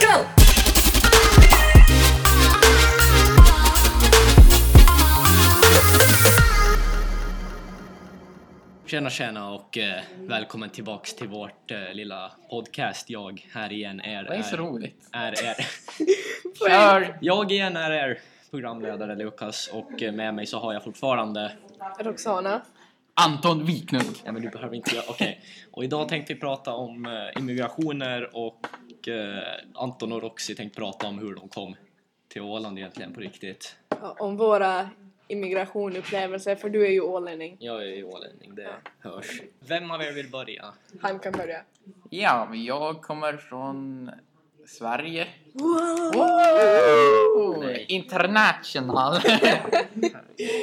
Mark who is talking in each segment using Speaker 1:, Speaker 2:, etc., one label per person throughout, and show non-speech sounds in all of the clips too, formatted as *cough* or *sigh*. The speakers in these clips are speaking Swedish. Speaker 1: go!
Speaker 2: Tjena tjena och eh, välkommen tillbaks till vårt eh, lilla podcast. Jag här igen är...
Speaker 3: Det är så roligt.
Speaker 2: är, är, *laughs*
Speaker 3: Kör!
Speaker 2: Jag igen är er programledare Lukas och eh, med mig så har jag fortfarande...
Speaker 4: Roxana.
Speaker 3: Anton Wiklund.
Speaker 2: Nej men du behöver inte göra... Okej. Och idag tänkte vi prata om eh, immigrationer och eh, Anton och Roxy tänkte prata om hur de kom till Åland egentligen på riktigt.
Speaker 4: Ja, om våra immigrationupplevelser, för du är ju ålänning.
Speaker 2: Jag är ju ålänning, det hörs. Vem av er vill börja?
Speaker 4: Han kan börja.
Speaker 3: Ja, men jag kommer från Sverige.
Speaker 2: Nej.
Speaker 3: Oh, International.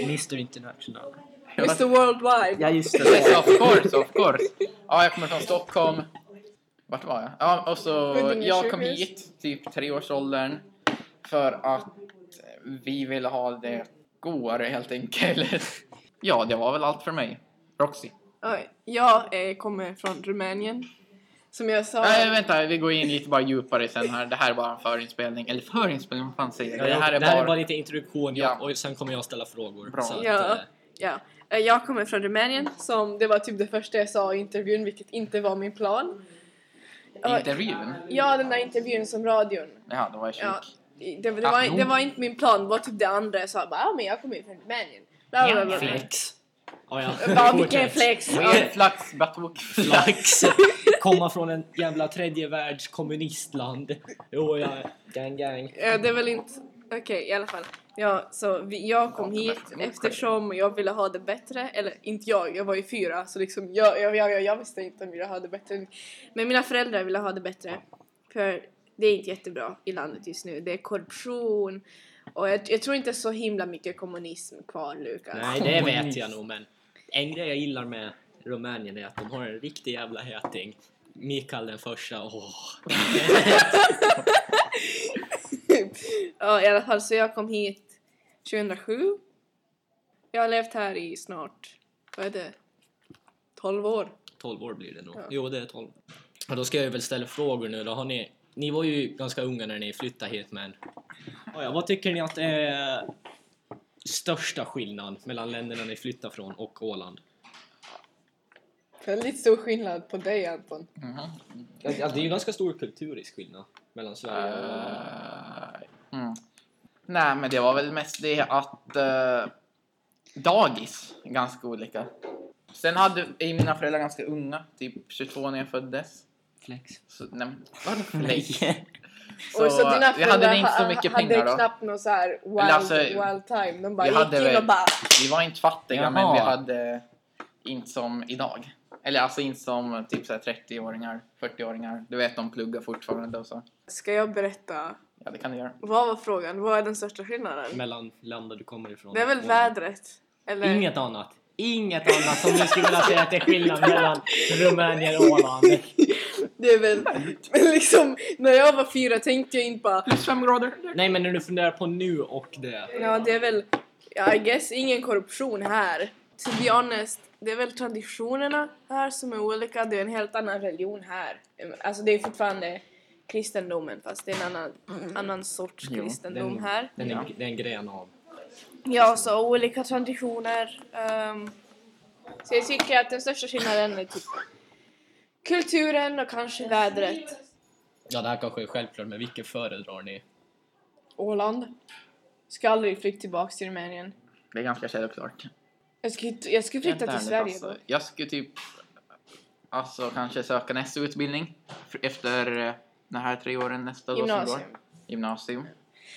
Speaker 5: Mr International.
Speaker 4: Mr Worldwide.
Speaker 5: Ja just
Speaker 2: *laughs*
Speaker 3: yes,
Speaker 5: det.
Speaker 3: *laughs* of course, of course. Ja, jag kommer från Stockholm. Vart var jag? Ja, och så
Speaker 4: Huddinge
Speaker 3: jag kom
Speaker 4: sjukhus.
Speaker 3: hit typ treårsåldern för att vi ville ha det godare helt enkelt. *laughs* Ja, det var väl allt för mig. Roxy.
Speaker 4: Oj, Jag eh, kommer från Rumänien. Som jag sa...
Speaker 3: Nej, vänta, vi går in lite bara djupare sen här. Det här är bara en förinspelning. Eller förinspelning, vad fan säger jag? Det här är bara...
Speaker 5: lite introduktion
Speaker 3: Ja.
Speaker 5: ja. och sen kommer jag ställa frågor.
Speaker 3: Bra.
Speaker 5: Så att,
Speaker 4: Ja.
Speaker 5: eh,
Speaker 4: Ja, eh, jag kommer från Rumänien, som det var typ det första jag sa i intervjun, vilket inte var min plan. Ja,
Speaker 3: Intervjun?
Speaker 4: Ja, den där intervjun som radion.
Speaker 3: Jaha, då var jag sjuk.
Speaker 4: Ja, det, det,
Speaker 3: Ah,
Speaker 4: var,
Speaker 3: jo.
Speaker 4: det var inte min plan, det var typ det andra jag sa. Bara, ja, men jag kommer ju från Rumänien. Bla, bla, bla, bla.
Speaker 2: Flex. Ja,
Speaker 4: Ja, vilken flex! Ja.
Speaker 3: Mer flax, batok, flax.
Speaker 2: flax. Komma från en jävla tredje världs kommunistland. Jo, jag... Gang, gang.
Speaker 4: Eh, Det är väl inte... Okej, i alla fall. Ja, så vi, jag kom hit eftersom jag ville ha det bättre. Eller inte jag, jag var ju fyra. Så liksom jag, jag, jag, jag visste inte om jag ville ha det bättre. Men mina föräldrar ville ha det bättre. För det är inte jättebra i landet just nu. Det är korruption. Och jag, jag tror inte så himla mycket kommunism kvar, Lukas.
Speaker 2: Nej, det vet jag nog, men en grej jag gillar med Rumänien är att de har en riktig jävla häting. Mikael den första, åh.
Speaker 4: *laughs* Ja, i alla fall så jag kom hit 2007. Jag har levt här i snart, vad är det? 12 år.
Speaker 2: 12 år blir det nog.
Speaker 4: Ja.
Speaker 2: Jo, det är 12. Och då ska jag väl ställa frågor nu då. Har ni, ni var ju ganska unga när ni flyttade hit, men... Ja, ja, vad tycker ni att är största skillnaden mellan länderna ni flyttar från och Åland?
Speaker 4: Väldigt stor skillnad på dig Anton.
Speaker 3: Mhm.
Speaker 2: Ja, det är ju ganska stor kulturisk skillnad mellan Sverige och Åland.
Speaker 3: Eh, mm. Nej, men det var väl mest det att eh, dagis är ganska olika. Sen hade är mina föräldrar ganska unga, typ 22 när jag föddes.
Speaker 5: Flex.
Speaker 3: Så, nej, men vadå för länge?
Speaker 4: och så dina
Speaker 3: vi eh, hade
Speaker 4: föräldrar
Speaker 3: inte så
Speaker 4: ha-
Speaker 3: mycket
Speaker 4: hade
Speaker 3: pengar då.
Speaker 4: knappt någon så här wild,
Speaker 3: alltså,
Speaker 4: wild time. De bara
Speaker 3: vi
Speaker 4: gick
Speaker 3: hade
Speaker 4: in
Speaker 3: väl-
Speaker 4: och bara
Speaker 3: Vi var inte fattiga, men
Speaker 5: Jaha.
Speaker 3: vi hade inte som idag. Eller alltså inte som typ så här 30-åringar, 40-åringar. Du vet, de pluggar fortfarande och så.
Speaker 4: Ska jag berätta?
Speaker 3: Ja, det kan du göra.
Speaker 4: Vad var frågan? Vad är den största skillnaden?
Speaker 2: mellan länder du kommer ifrån.
Speaker 4: det är väl
Speaker 2: Och-
Speaker 4: vädret? Eller?
Speaker 2: Inget annat. Inget annat som du skulle vilja säga att det
Speaker 4: *laughs*
Speaker 2: är skillnad mellan Rumänien och Åland.
Speaker 4: Det är väl men liksom när jag var fyra tänkte jag inte bara
Speaker 3: Plus fem grader.
Speaker 2: Nej men när du funderar på nu och det.
Speaker 4: ja det är väl I guess ingen korruption här. To be honest, det är väl traditionerna här som är olika. Det är en helt annan religion här. Alltså det är fortfarande kristendomen fast det är en annan, annan sorts
Speaker 3: Jo,
Speaker 4: kristendom
Speaker 2: den-
Speaker 4: här.
Speaker 2: Den är, det är en gren av.
Speaker 4: Ja, så olika traditioner. ehm. så jag tycker att den största skillnaden är typ kulturen och kanske vädret.
Speaker 2: Ja det här kanske är självklart men vilken föredrar ni?
Speaker 4: Åland. Ska aldrig flytta tillbaks till Rumänien.
Speaker 3: Det är ganska självklart.
Speaker 4: Jag skulle, jag skulle flytta till
Speaker 3: Helt
Speaker 4: Sverige
Speaker 3: ärligt, alltså. Jag skulle typ alltså kanske söka nästa utbildning f- efter eh, de här tre åren nästa
Speaker 4: då.
Speaker 3: då som
Speaker 4: Gymnasium.
Speaker 3: går. Gymnasium.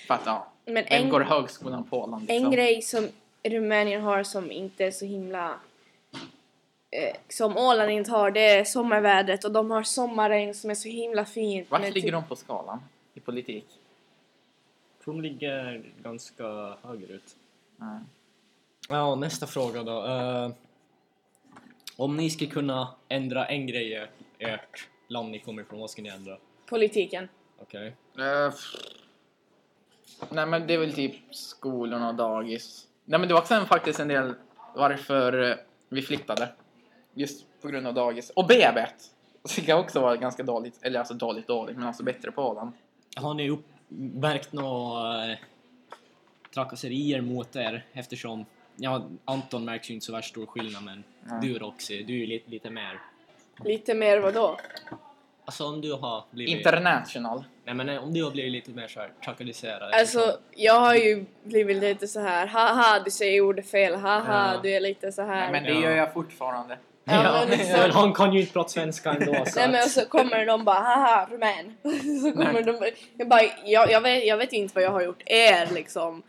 Speaker 3: För att ja,
Speaker 4: Men
Speaker 3: vem
Speaker 4: en,
Speaker 3: går högskolan på Åland
Speaker 4: en
Speaker 3: liksom?
Speaker 4: grej som Rumänien har som inte är så himla... Eh, som Åland inte har, det är sommarvädret och de har sommarregn som är så himla fint.
Speaker 3: Vart
Speaker 4: med
Speaker 3: ligger
Speaker 4: typ-
Speaker 3: de på skalan i politik?
Speaker 2: De ligger ganska höger ut.
Speaker 3: Mm.
Speaker 2: Ja nästa fråga då. Eh, om ni skulle kunna ändra en grej i ert land ni kommer ifrån, vad skulle ni ändra?
Speaker 4: Politiken.
Speaker 2: Okej.
Speaker 3: Eh, pff. Nej men det är väl typ skolorna och dagis. Nej men det var också en, faktiskt en del varför eh, vi flyttade. Just på grund av dagis. Och BB! Det kan också vara ganska dåligt, eller alltså dåligt dåligt men alltså bättre på Åland.
Speaker 2: har ni upp, märkt några eh, trakasserier mot er eftersom Ja, Anton märks ju inte så värst stor skillnad men
Speaker 3: Nej.
Speaker 2: du Roxy, du är ju lite, lite mer...
Speaker 4: Lite mer vadå?
Speaker 2: Alltså om du har blivit...
Speaker 3: International.
Speaker 2: Nej men eh, om du har blivit lite mer såhär trakasserad
Speaker 4: Alltså, jag har ju blivit lite så här. haha du säger ordet fel, haha
Speaker 2: Ja.
Speaker 4: du är lite så här.
Speaker 3: Nej, men det
Speaker 2: Ja.
Speaker 3: gör jag fortfarande.
Speaker 4: Ja,
Speaker 2: Ja,
Speaker 4: men så-
Speaker 2: men han kan ju inte prata svenska ändå så
Speaker 4: Nej men alltså,
Speaker 2: att-
Speaker 4: så kommer de bara haha rumän. *laughs* så kommer de jag bara jag, jag, vet, jag vet inte vad jag har gjort er liksom.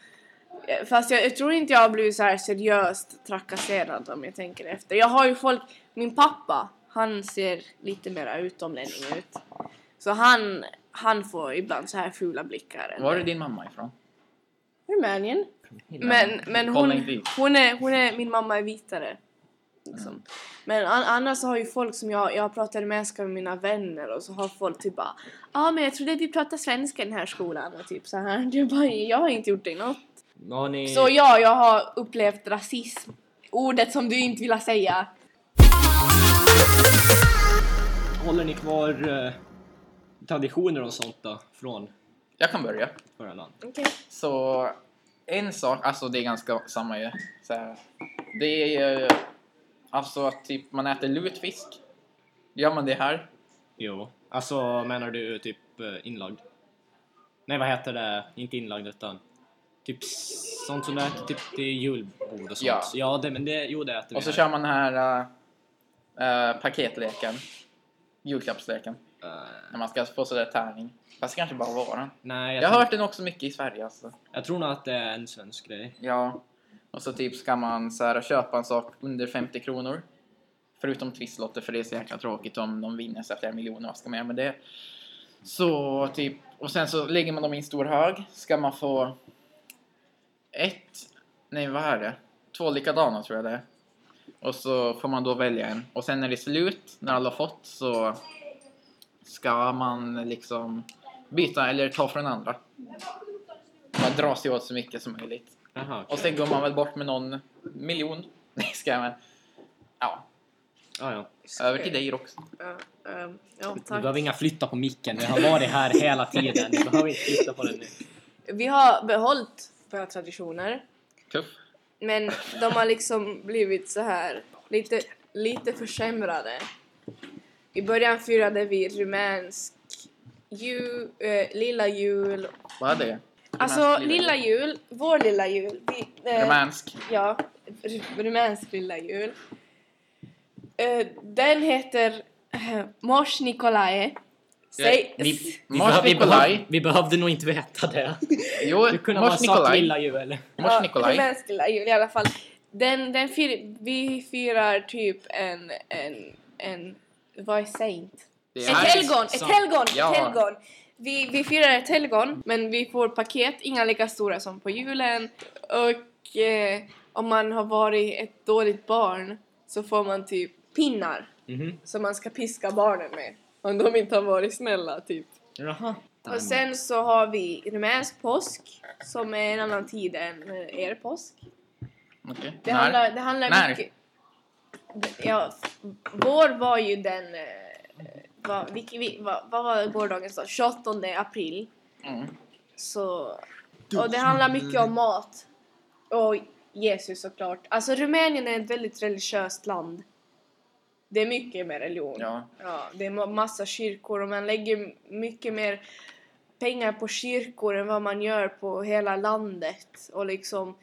Speaker 4: Eh, Fast jag, jag tror inte jag har blivit så här seriöst trakasserad om jag tänker efter. Jag har ju folk, min pappa han ser lite mera utomlänning ut. Så han, han får ibland så här fula blickar.
Speaker 3: Var är din mamma ifrån?
Speaker 4: Rumänien. Men, men
Speaker 3: Kolla
Speaker 4: hon,
Speaker 3: inte dit.
Speaker 4: hon, är, hon är, min mamma är vitare. Liksom. Men an, annars så har ju folk som jag, jag pratar rumänska med mina vänner och så har folk typ bara Ja ah, men jag trodde vi pratade svenska i den här skolan och typ så här. *laughs* Jag, bara, jag har inte gjort det något.
Speaker 2: Har ni...
Speaker 4: Så ja, jag har upplevt rasism. Ordet som du inte vill säga.
Speaker 2: Håller ni kvar eh, traditioner och sånt då? Från
Speaker 3: Jag kan börja.
Speaker 2: förra land?
Speaker 4: Okej.
Speaker 3: Så en sak, alltså det är ganska samma ju. Så här, det är ju alltså att typ man äter lutfisk. Gör man det här?
Speaker 2: Jo. Alltså menar du typ eh, inlagd? Nej vad heter det? Inte inlagd utan typ s- sånt som du äter typ till julbord och sånt.
Speaker 3: Ja.
Speaker 2: ja det, men det, jo det äter vi
Speaker 3: Och så
Speaker 2: här.
Speaker 3: kör man den här äh, äh, paketleken. Julklappsleken.
Speaker 2: Eh,
Speaker 3: När man ska få sådär tärning. Fast det kanske bara var den.
Speaker 2: nej jag,
Speaker 3: Jag har
Speaker 2: tror,
Speaker 3: hört den också mycket i Sverige alltså.
Speaker 2: jag tror nog att det är en svensk grej.
Speaker 3: Ja. Och så typ ska man så här, köpa en sak under 50 kronor. Förutom tvistlotter för det är så jäkla tråkigt om de vinner så här flera miljoner, vad ska man göra med det? Så typ, och sen så lägger man dem i en stor hög. Ska man få ett, nej vad är det? Två likadana tror jag det är. Och så får man då välja en. Och sen när det är slut, när alla har fått, så ska man liksom byta eller ta från andra. Man drar sig åt så mycket som möjligt.
Speaker 2: Jaha.
Speaker 3: Och sen går man väl bort med någon miljon. *laughs* Nej, ska jag men. Ja,
Speaker 2: Ah, ja.
Speaker 3: över till dig också.
Speaker 4: Ja, ehm, ja,
Speaker 2: Du
Speaker 4: tack.
Speaker 2: behöver inga flytta på micken, det har varit här hela tiden. Du behöver inte flytta på den nu.
Speaker 4: Vi har behållit våra traditioner.
Speaker 3: Tuff.
Speaker 4: Men de har liksom blivit så här lite, lite försämrade. I början firade vi rumänsk jul, eh, lilla jul.
Speaker 3: Vad är det?
Speaker 4: Alltså lilla jul, vår lilla jul. Vi, eh,
Speaker 3: Rumänsk.
Speaker 4: Ja, ru- rumänsk lilla jul. Eh, den heter eh, Mors Nicolae. Säg...
Speaker 3: Eh,
Speaker 2: Vi,
Speaker 4: s-
Speaker 2: vi,
Speaker 3: Mars
Speaker 2: behöv, vi,
Speaker 3: Nikolaj.
Speaker 2: behöv, vi behövde nog inte veta det.
Speaker 3: Jo,
Speaker 2: *laughs* Du kunde ha
Speaker 3: mors
Speaker 2: sagt
Speaker 3: Nikolaj.
Speaker 2: lilla jul.
Speaker 3: Mors
Speaker 4: Ja,
Speaker 3: Nikolaj.
Speaker 4: rumänsk lilla jul i alla fall. Den, den fir, vi firar typ en, en, en, vad är saint?
Speaker 3: Det
Speaker 4: Ett
Speaker 3: är-
Speaker 4: helgon! Ett
Speaker 2: sant.
Speaker 4: helgon!
Speaker 3: Ja.
Speaker 4: Ett helgon! Vi, vi firar ett helgon, men vi får paket, inga lika stora som på julen. Och eh, om man har varit ett dåligt barn så får man typ pinnar
Speaker 2: Mhm.
Speaker 4: som man ska piska barnen med. Om de inte har varit snälla, typ.
Speaker 2: Jaha.
Speaker 4: Och sen så har vi rumänsk påsk, som är en annan tid än eh, er påsk.
Speaker 3: Okej.
Speaker 4: Det
Speaker 3: När?
Speaker 4: handlar, det handlar
Speaker 3: När?
Speaker 4: mycket... Ja, vår var ju den... eh, Vad, vilken, vi- vad, vad var gårdagens dag? 28 april.
Speaker 3: Mm.
Speaker 4: Så, och det handlar mycket om mat. Och Jesus såklart. Alltså Rumänien är ett väldigt religiöst land. Det är mycket med religion.
Speaker 3: Ja.
Speaker 4: Ja, det är ma- massa kyrkor och man lägger mycket mer pengar på kyrkor än vad man gör på hela landet. Och liksom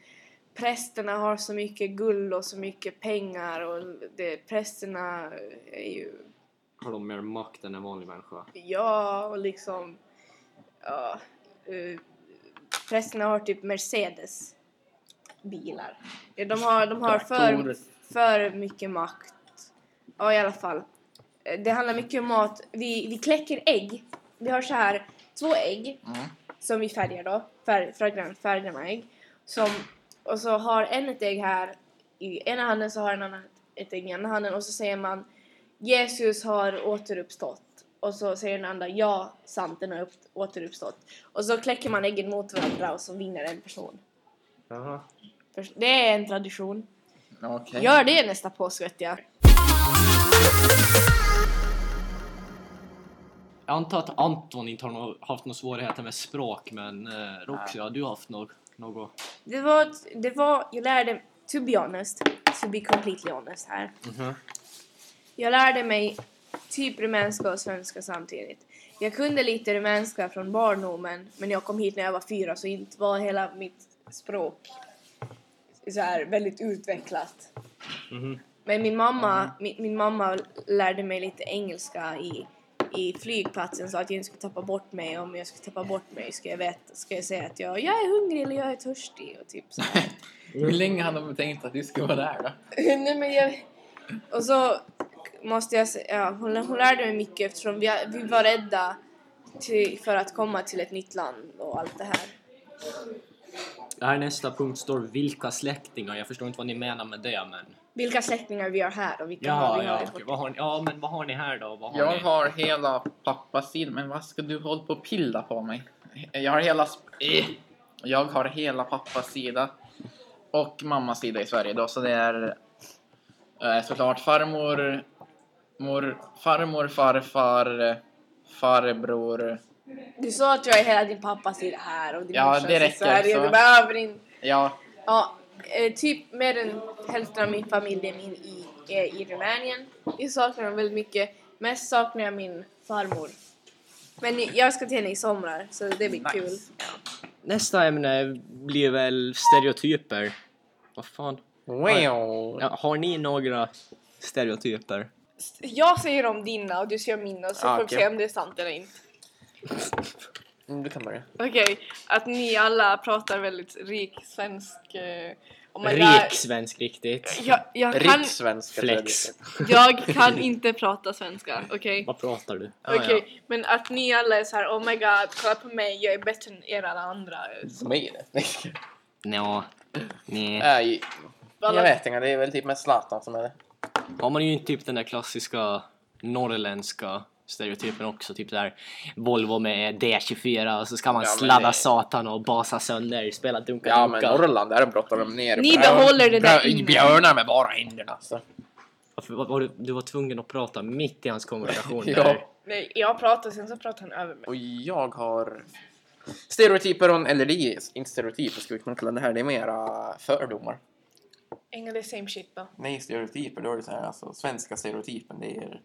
Speaker 4: prästerna har så mycket guld och så mycket pengar och det, prästerna är ju...
Speaker 2: Har de mer makt än en vanlig människa?
Speaker 4: Ja, och liksom... Ja, eh, prästerna har typ Mercedes bilar. Ja, De har, de har för,
Speaker 3: Traktorer.
Speaker 4: för mycket makt. Ja, i alla fall. Eh, Det handlar mycket om mat. Vi, vi kläcker ägg. Vi har så här två ägg
Speaker 3: Mm.
Speaker 4: som vi färgar då. Färg, färggrann, färggranna ägg. Som, och så har en ett ägg här i ena handen så har en annan ett ägg i andra handen och så säger man Jesus har återuppstått. Och så säger den andra ja, sant den har upp, återuppstått. Och så kläcker man äggen mot varandra och så vinner en person.
Speaker 2: Jaha.
Speaker 4: Förs- Det är en tradition.
Speaker 3: Okej.
Speaker 4: Gör det nästa påsk vet jag.
Speaker 2: Jag antar att Anton inte har nå- haft några svårigheter med språk men eh, Roxy, har du haft något? något?
Speaker 1: Det var, det var, jag lärde, to be honest, to be completely honest här.
Speaker 2: Mhm.
Speaker 1: Jag lärde mig typ rumänska och svenska samtidigt. Jag kunde lite rumänska från barndomen, men jag kom hit när jag var fyra så inte var hela mitt språk så här väldigt utvecklat.
Speaker 2: Mhm.
Speaker 1: Men min mamma, min, min mamma lärde mig lite engelska i, i flygplatsen så att jag inte skulle tappa bort mig. Om jag skulle tappa bort mig ska jag, veta, ska jag säga att jag, jag är hungrig eller jag är törstig och typ så här.
Speaker 3: Hur länge hade de tänkt att du skulle vara där då?
Speaker 1: *laughs* Nej men jag... Och så måste jag säga, ja, hon, hon lärde mig mycket eftersom vi, vi var rädda till, för att komma till ett nytt land och allt det här.
Speaker 2: Här nästa punkt står vilka släktingar? Jag förstår inte vad ni menar med det men...
Speaker 1: Vilka släktingar vi har här och vilka
Speaker 2: Ja,
Speaker 1: vi har
Speaker 2: ja,
Speaker 1: i
Speaker 2: okej.
Speaker 1: vårt-
Speaker 2: Vad har ni, ja men vad har ni här då? Vad har
Speaker 3: Jag
Speaker 2: ni?
Speaker 3: har hela pappas sida, men vad ska du hålla på och pilla på mig? Jag har hela... sp- Eh. Jag har hela pappas sida och mammas sida i Sverige då, så det är eh, såklart farmor, mor, farmor, farfar, farbror.
Speaker 1: Du sa att jag är hela din pappas sida här och din
Speaker 3: Ja,
Speaker 1: morsas
Speaker 3: det
Speaker 1: i
Speaker 3: räcker,
Speaker 1: Sverige.
Speaker 3: så.
Speaker 1: Du behöver inte...
Speaker 3: Ja,
Speaker 1: Ja, eh, typ mer än hälften av min familj är min i, eh, i Rumänien. Jag saknar dem väldigt mycket. Mest saknar jag min farmor. Men jag ska till henne i somrar så det blir
Speaker 3: Nice.
Speaker 1: kul.
Speaker 2: Nästa ämne blir väl stereotyper. Vad fan?
Speaker 3: Wow.
Speaker 2: Ja, har ni några stereotyper?
Speaker 4: Jag säger om dina och du säger om mina så
Speaker 3: Ah,
Speaker 4: får vi
Speaker 3: okej.
Speaker 4: se om det är sant eller inte.
Speaker 3: Mm, Du kan börja.
Speaker 4: Okej, att ni alla pratar väldigt rik svensk... eh, och
Speaker 3: Oh
Speaker 4: man lär-
Speaker 2: Rik svensk riktigt.
Speaker 4: Jag, jag, kan,
Speaker 3: Rik svenska.
Speaker 2: Flex.
Speaker 3: *laughs*
Speaker 4: jag kan inte prata svenska, okej?
Speaker 2: Vad pratar du?
Speaker 3: Ah, ja.
Speaker 4: Okej, men att ni alla är så här, oh my god, kolla på mig, jag är bättre än er alla andra.
Speaker 3: Som är det.
Speaker 2: Nja, nej.
Speaker 3: Nej, jag vet inte, det är väl typ med Zlatan som är det.
Speaker 2: Har man ju inte typ den där klassiska norrländska stereotypen också, typ där Volvo med D24 och så ska man
Speaker 3: Ja, men
Speaker 2: sladda
Speaker 3: det-
Speaker 2: satan och basa sönder, spela dunka
Speaker 3: Ja men
Speaker 2: dunka.
Speaker 3: Norrland, där brottar de ner
Speaker 4: Ni behåller det där
Speaker 3: brö-
Speaker 4: inne.
Speaker 3: Björnar med bara händerna. alltså. Så.
Speaker 2: Varför var- var du, du var tvungen att prata mitt i hans konversation
Speaker 3: *laughs* Ja.
Speaker 2: där.
Speaker 4: Nej, jag pratar, sen så pratar han över mig.
Speaker 3: Och jag har stereotyper, om- eller det är inte stereotyper skulle vi kunna kalla det här, det är mera fördomar.
Speaker 4: Änga, det är same shit då.
Speaker 3: Nej, stereotyper, då är det så här, alltså svenska stereotypen, det är...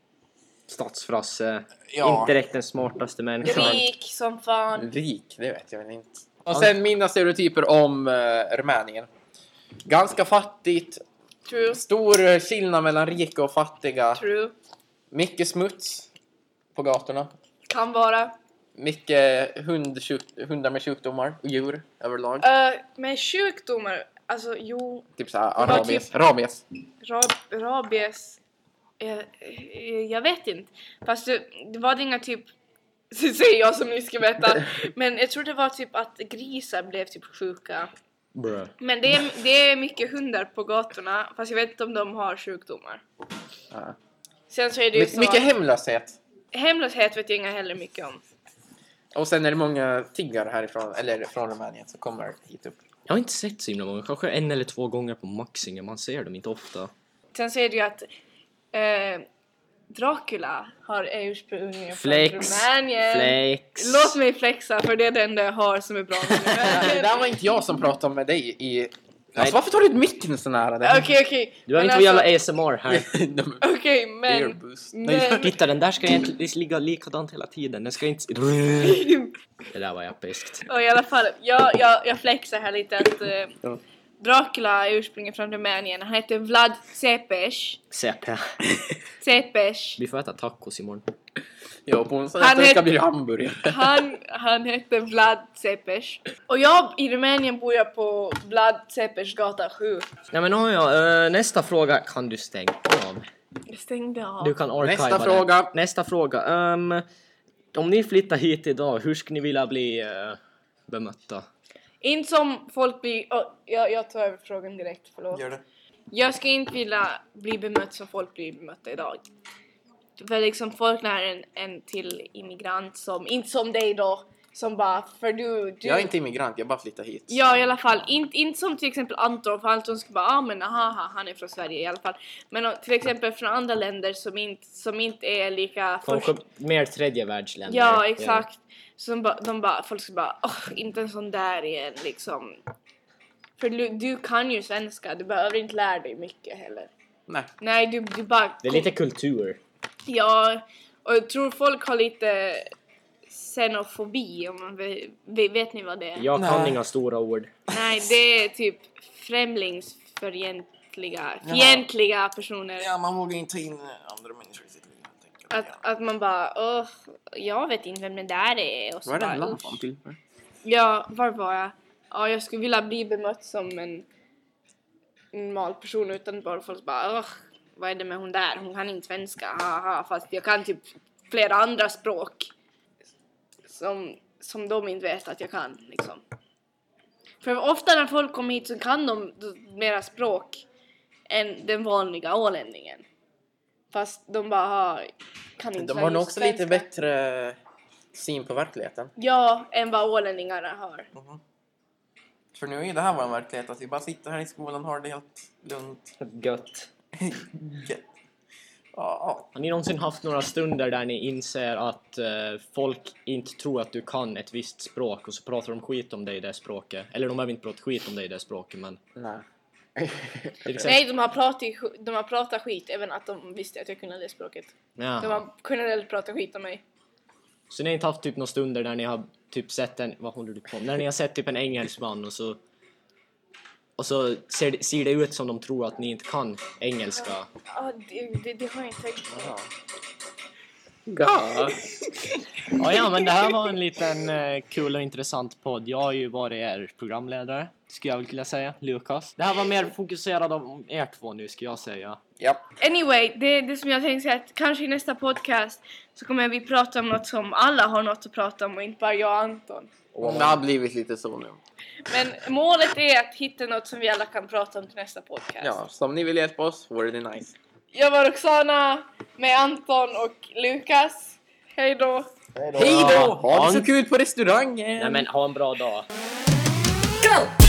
Speaker 2: Stadsfrasse,
Speaker 3: Ja,
Speaker 2: inte direkt den smartaste människan.
Speaker 4: Rik som fan.
Speaker 3: rik, det vet jag väl inte. Och
Speaker 2: Ja.
Speaker 3: sen mina stereotyper om eh, Rumänien. Ganska fattigt,
Speaker 4: True,
Speaker 3: stor eh, skillnad mellan rika och fattiga,
Speaker 4: true.
Speaker 3: mycket smuts på gatorna.
Speaker 4: Kan vara.
Speaker 3: Mycket hund, hundar med sjukdomar och djur överlag.
Speaker 4: Uh, men sjukdomar, alltså jo,
Speaker 3: Typ såhär,
Speaker 4: var
Speaker 3: rabies. rabies.
Speaker 4: rab rabies. Eh, eh, jag vet inte. Fast det, det var det inga typ, *laughs* så säger jag som ni ska
Speaker 3: *laughs*
Speaker 4: veta. Men jag tror det var typ att grisar blev typ sjuka. Men det är, det är mycket hundar på gatorna, fast jag vet inte om de har sjukdomar.
Speaker 3: Ja.
Speaker 4: Sen så är det ju
Speaker 3: My,
Speaker 4: så
Speaker 3: mycket
Speaker 4: att
Speaker 3: hemlöshet.
Speaker 4: hemlöshet vet jag inga heller mycket om.
Speaker 3: Och sen är det många tiggare härifrån, eller från Rumänien, som kommer hit upp.
Speaker 2: Jag har inte sett så himla många, kanske en eller två gånger på Maxingen, man ser dem inte ofta.
Speaker 4: Sen så är det ju att eh, Dracula har är ursprungligen från
Speaker 2: Flex,
Speaker 4: Rumänien.
Speaker 2: flex.
Speaker 4: Låt mig flexa för det är det enda jag har som är
Speaker 3: *laughs*
Speaker 4: bra med
Speaker 3: det
Speaker 4: Rumänien.
Speaker 3: där var inte jag som pratade med dig i...
Speaker 2: Nej.
Speaker 3: Alltså, varför tar du ut micken så nära den?
Speaker 4: Okej okej.
Speaker 2: Du har
Speaker 4: Men
Speaker 2: Mm. inte
Speaker 4: alltså-
Speaker 2: alltså... jävla ASMR
Speaker 3: *laughs*
Speaker 2: här.
Speaker 4: Okej
Speaker 3: Ear
Speaker 4: men.
Speaker 3: boost.
Speaker 4: men
Speaker 2: Titta den där ska egentligen ligga likadant hela tiden, den ska inte... Det där var episkt.
Speaker 4: och i alla fall, jag, jag, jag flexar här lite att eh,
Speaker 3: Ja.
Speaker 4: Dracula är ursprungligen från Rumänien. Han heter Vlad Cepes.
Speaker 2: CP. *laughs*
Speaker 4: Cepes.
Speaker 2: Vi får äta tacos imorgon.
Speaker 3: Ja, på en sån
Speaker 4: Han
Speaker 3: här vecka
Speaker 4: heter-
Speaker 3: blir det hamburgare.
Speaker 4: Han, han hette Vlad Cepes. Och jag i Rumänien bor jag på Vlad Cepes gata 7.
Speaker 2: Nej men oh ja, eh, nästa fråga kan du stänga av.
Speaker 4: Jag stängde av.
Speaker 2: Du kan archiva
Speaker 3: Nästa
Speaker 2: det.
Speaker 3: fråga.
Speaker 2: Nästa fråga. ehm, om ni flyttar hit idag, hur skulle ni vilja bli eh, bemötta?
Speaker 4: Inte som folk blir... åh, jag, jag tar över frågan direkt, förlåt.
Speaker 3: det.
Speaker 4: Jag ska inte vilja bli bemött som folk blir bemötta idag. För liksom folk när en, en till immigrant som, inte som dig då, som bara för du... du
Speaker 3: Jag är inte immigrant, jag bara flyttar hit.
Speaker 4: Ja i alla fall, inte, inte som till exempel Anton för Anton skulle bara ah men aha, aha han är från Sverige i alla fall. Men om- till exempel från andra länder som inte, som inte är lika
Speaker 2: Kanske mer tredje världsländer.
Speaker 4: Ja, exakt. Så de bara, de bara, folk ska bara, "Åh, inte en sån där igen liksom. För du, du kan ju svenska, du behöver inte lära dig mycket heller.
Speaker 3: Nej.
Speaker 4: Nej, du, du bara...
Speaker 2: Det är lite kultur.
Speaker 4: Ja, och jag tror folk har lite xenofobi om man vet, vet ni vad det är?
Speaker 2: Jag kan
Speaker 3: Nej.
Speaker 2: inga stora ord.
Speaker 4: Nej, det är typ främlingsfientliga fientliga personer.
Speaker 3: Ja, man vågar inte ta in andra människor i sitt liv. jag tänker.
Speaker 4: Att,
Speaker 3: Ja.
Speaker 4: att man bara, åh, jag vet inte vem det där är. Och så
Speaker 3: Vad är
Speaker 4: bara,
Speaker 3: den
Speaker 4: "Usch."
Speaker 3: lampan till för?
Speaker 4: Ja, var var jag? Ja, jag skulle vilja bli bemött som en normal person utan bara folk bara "Ugh, vad är det med hon där? Hon kan inte svenska, haha, fast jag kan typ flera andra språk som, som de inte vet att jag kan liksom. För ofta när folk kommer hit så kan de mera språk än den vanliga ålänningen. Fast de bara "Ah, kan inte
Speaker 3: De har nog också lite
Speaker 4: svenska."
Speaker 3: bättre syn på verkligheten.
Speaker 4: Ja, än vad ålänningarna har.
Speaker 3: Mm. För nu är ju det här vår verklighet, att vi bara sitter här i skolan och har det helt lugnt. *laughs*
Speaker 2: Gött.
Speaker 3: Gött. Ja,
Speaker 2: Har ni någonsin haft några stunder där ni inser att eh, folk inte tror att du kan ett visst språk och så pratar de skit om dig i det språket? Eller de behöver inte prata skit om dig i det språket men...
Speaker 3: *laughs* Nej.
Speaker 2: Till exempel...
Speaker 4: Nej, de har, pratat, sk- de har pratat skit även att de visste att jag kunde det språket. De
Speaker 2: Ja.
Speaker 4: har generellt pratat skit om mig.
Speaker 2: Så ni har inte haft typ några stunder där ni har typ sett en... Vad håller du på med? När ni har sett typ en engelsman och så... Och så ser, det- ser det ut som de tror att ni inte kan engelska.
Speaker 4: Ja, det, det, det har jag inte tänkt på.
Speaker 2: Ja, ja, men det här var en liten eh, kul och intressant podd. Jag har ju varit er programledare, skulle jag väl vilja säga, Lukas. Det här var mer fokuserat om er två nu, skulle jag säga.
Speaker 3: ja.
Speaker 4: Anyway, det, det som jag tänkte säga att kanske i nästa podcast så kommer vi prata om något som alla har något att prata om och inte bara jag och Anton.
Speaker 3: Det har blivit lite så nu.
Speaker 4: Men målet är att hitta något som vi alla kan prata om till nästa podcast.
Speaker 3: Ja, så om ni vill hjälpa oss vore det nice.
Speaker 4: Jag var Roxana med Anton och Lukas. Hej då!
Speaker 3: Hej då! Ha det så kul på restaurangen!
Speaker 2: Nej, men ha en bra dag.
Speaker 3: go!